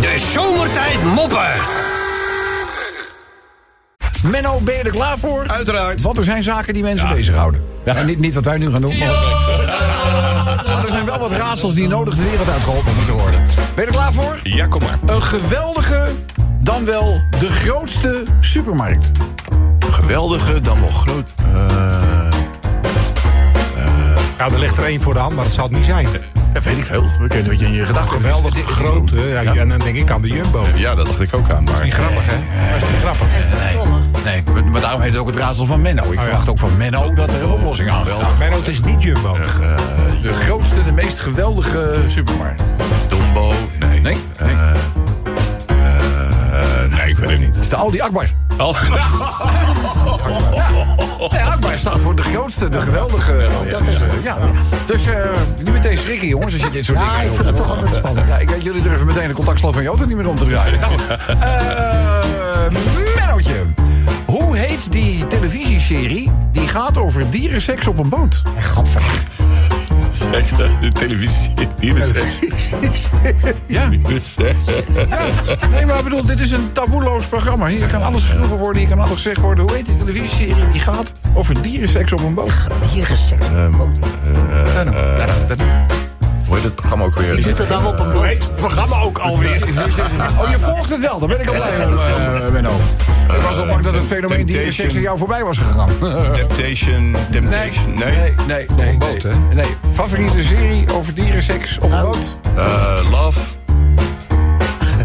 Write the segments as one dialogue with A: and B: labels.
A: De zomertijd moppen.
B: Menno, ben je er klaar voor?
C: Uiteraard.
B: Want er zijn zaken die mensen bezighouden. En niet, niet wat wij nu gaan doen. Maar, maar er zijn wel wat raadsels die nodig de wereld uitgeholpen moeten worden. Ben je er klaar voor?
C: Ja, kom maar.
B: Een geweldige, dan wel de grootste supermarkt.
C: Geweldige, dan nog groot.
D: Nou, er ligt er één voor de hand, maar dat zal het niet zijn.
B: Dat weet ik veel. We kunnen wat je in je gedachten hebt.
D: Geweldig
B: Dit- dit-
D: groot. hè. Ja, En dan denk ik aan de Jumbo. Dat
C: Ja, dat dacht ik ook aan. Maar...
D: is niet grappig, hè? Dat is niet grappig.
B: Nee, maar- maar daarom heet het ook het raadsel van Menno. Ik verwacht ook van Menno dat er een oplossing aan wel.
D: Menno, het is niet Jumbo.
B: De grootste, de meest geweldige supermarkt.
C: Dombo. Nee.
B: Nee? Nee.
C: Eh, nee, ik weet het niet. Oh.
B: is de Aldi Akbar. Nee, Akbar staat voor de grootste, de geweldige. dat is het. Ja. Dus eh, niet meteen schrikken, jongens, als je dit soort dingen Eh,
E: ik vind het toch altijd spannend.
B: Ja, ik, jullie durven meteen de contactslag van Jota niet meer om te draaien. Nou, goed. Eh, Mennootje. Hoe heet die televisieserie die gaat over dierenseks op een boot?
E: Gadver.
C: Seks, de televisie. Hier is seks.
B: Ja. Nee, maar ik bedoel, dit is een taboeloos programma. Hier kan alles geroepen worden, hier kan alles gezegd worden. Hoe heet die televisieserie die gaat over dierenseks op een boot?
E: Dierenseks.
C: Ehm, eh, Hoe heet het programma ook weer?
E: Zit er dan op een boot?
B: programma ook alweer. Oh, je volgt het wel. Daar ben ik al blij om, eh Menno. Ik was al bang dat het fenomeen
C: Eh, Temptation.
B: dierenseks aan jou voorbij was gegaan.
C: Temptation. Temptation. Nee.
B: nee, nee.
D: een boot,
B: nee.
D: hè?
B: Nee, favoriete serie over dierenseks op een
E: Nou,
B: boot?
C: Eh, love.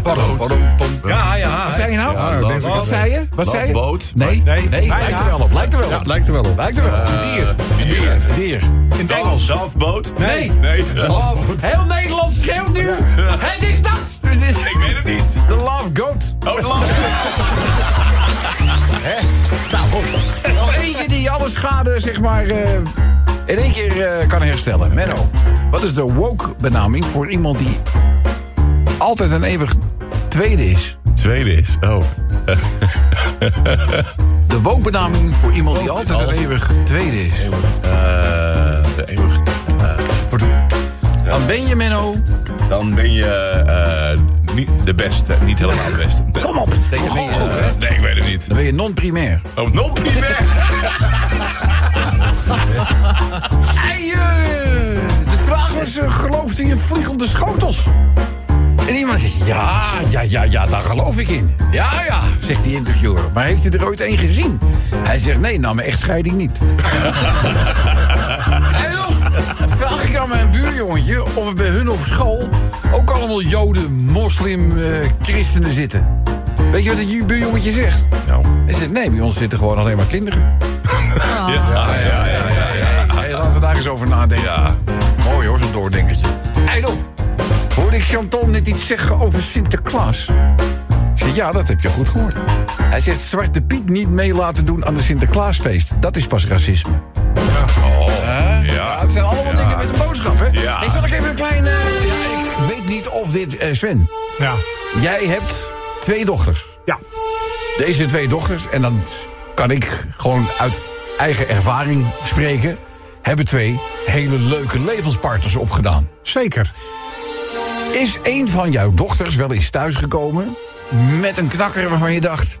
B: Pardon, pardon, pardon.
D: Ja, ja.
B: Wat zei je nou?
C: Ja, love.
B: Wat zei je? Wat zei je?
C: Boot.
B: Nee, nee,
D: Nee.
B: nee,
D: Ja,
B: lijkt
D: ja.
B: er wel op, lijkt er wel op. lijkt er wel op. Lijkt er wel op.
C: Dier.
B: Dier. Dier.
D: In het Engels.
C: Love boot.
B: Nee.
C: Nee.
B: Love. Heel Nederland schreeuwt nu. Het is dat.
C: Ik weet het niet.
B: The Love Goat.
C: Oh, love.
B: Nou, goed. Nog eentje die alle schade, zeg maar, eh, in één keer eh, kan herstellen. Menno, wat is de woke-benaming voor iemand die altijd en eeuwig tweede is?
C: Tweede is. Oh.
B: De woke-benaming voor iemand die altijd en eeuwig tweede is.
C: Eh, de eeuwige.
B: Dan ben je, Menno,
C: Dan ben je eh, niet de beste. Niet helemaal de beste.
E: Kom op.
B: dan ben je,
C: Eh, nee, ik weet het niet.
B: dan ben je non-primair.
C: Oh, nog niet meer.
B: Eie! De vraag was, eh, gelooft hij in vliegende schotels? En iemand zegt, ja, ja, ja, ja, daar geloof ik in. Ja, ja, zegt die interviewer. Maar heeft hij er ooit één gezien? Hij zegt, nee, nou, mijn echtscheiding niet. en dan vraag ik aan mijn buurjongetje of er bij hun op school... ook allemaal joden, moslim, eh, christenen zitten. Weet je wat het buurjongetje zegt?
C: Nou.
B: Hij zegt, nee, bij ons zitten gewoon alleen maar kinderen.
C: Ja, ja, ja.
B: Hey, laten we daar eens over nadenken.
C: Ja.
B: Mooi hoor, zo'n doordenkertje. Eindel, hoorde ik Chantal net iets zeggen over Sinterklaas? Ik zeg, ja, dat heb je goed gehoord. Hij zegt, Zwarte Piet niet mee laten doen aan de Sinterklaasfeest. Dat is pas racisme.
C: Oh,
B: Ja,
C: ja.
B: het zijn allemaal dingen met een boodschap, hè?
C: Ja.
B: Ik zal ik even een kleine... eh, Ja, ik weet niet of dit... eh, Sven,
D: Ja.
B: jij hebt twee dochters.
D: Ja.
B: Deze twee dochters, en dan kan ik gewoon uit eigen ervaring spreken... hebben twee hele leuke levenspartners opgedaan.
D: Zeker.
B: Is een van jouw dochters wel eens thuisgekomen met een knakker waarvan je dacht,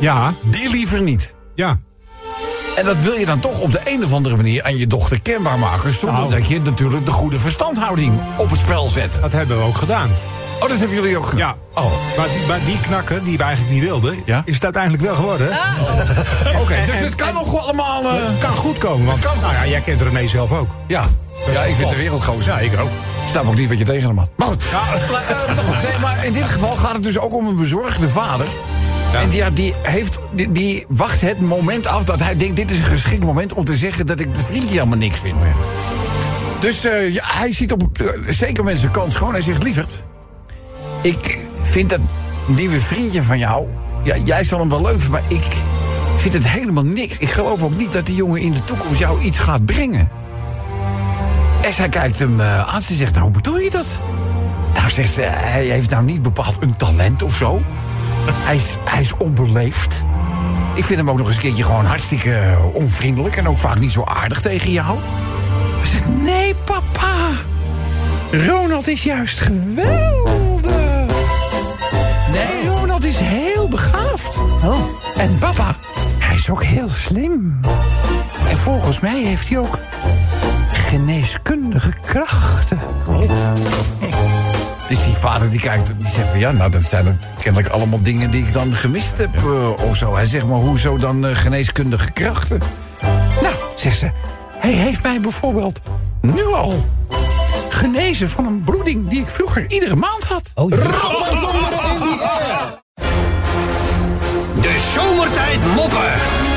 D: Ja.
B: die liever niet?
D: Ja.
B: En dat wil je dan toch op de een of andere manier aan je dochter kenbaar maken, zonder
D: Nou.
B: dat je natuurlijk de goede verstandhouding op het spel zet.
D: Dat hebben we ook gedaan.
B: Oh, dat hebben jullie ook
D: Ja.
B: gedaan. Oh,
D: Maar die, maar die knakker, die we eigenlijk niet wilden,
B: Ja?
D: is het uiteindelijk wel geworden.
B: oké. Dus het kan nog wel allemaal. eh,
D: Kan goed komen, want Nou ja, jij kent René zelf ook.
B: ja. Ja, ik vind de wereld gewoon. Ja,
D: ik ook.
B: Ik snap ook niet wat je tegen hem had. Maar goed. La- eh, maar goed. Nee, maar in dit geval gaat het dus ook om een bezorgde vader. En die, ja, die, heeft, die, die wacht het moment af dat hij denkt... dit is een geschikt moment om te zeggen dat ik de vriendje helemaal niks vind. Dus eh, ja, hij ziet op eh, zeker mensen kans gewoon. Hij zegt, lieverd, ik vind dat nieuwe vriendje van jou... Ja, jij zal hem wel leuk vinden, maar ik vind het helemaal niks. Ik geloof ook niet dat die jongen in de toekomst jou iets gaat brengen. En zij kijkt hem eh, aan. Ze zegt, hoe bedoel je dat? Nou, zegt ze, hij heeft nou niet bepaald een talent of zo. Hij is, hij is onbeleefd. Ik vind hem ook nog eens een keertje gewoon hartstikke eh, onvriendelijk... en ook vaak niet zo aardig tegen jou. Hij zegt, nee, papa. Ronald is juist geweldig. is ook heel slim. En volgens mij heeft hij ook geneeskundige krachten. Dus die vader die kijkt, die zegt van ja, nou dat zijn het kennelijk allemaal dingen die ik dan gemist heb eh, of zo. Hij zegt maar hoezo dan eh, geneeskundige krachten? Nou, zegt ze, hij heeft mij bijvoorbeeld nu al genezen van een bloeding die ik vroeger iedere maand had.
E: Oh, ja.
A: De zomertijd moppen.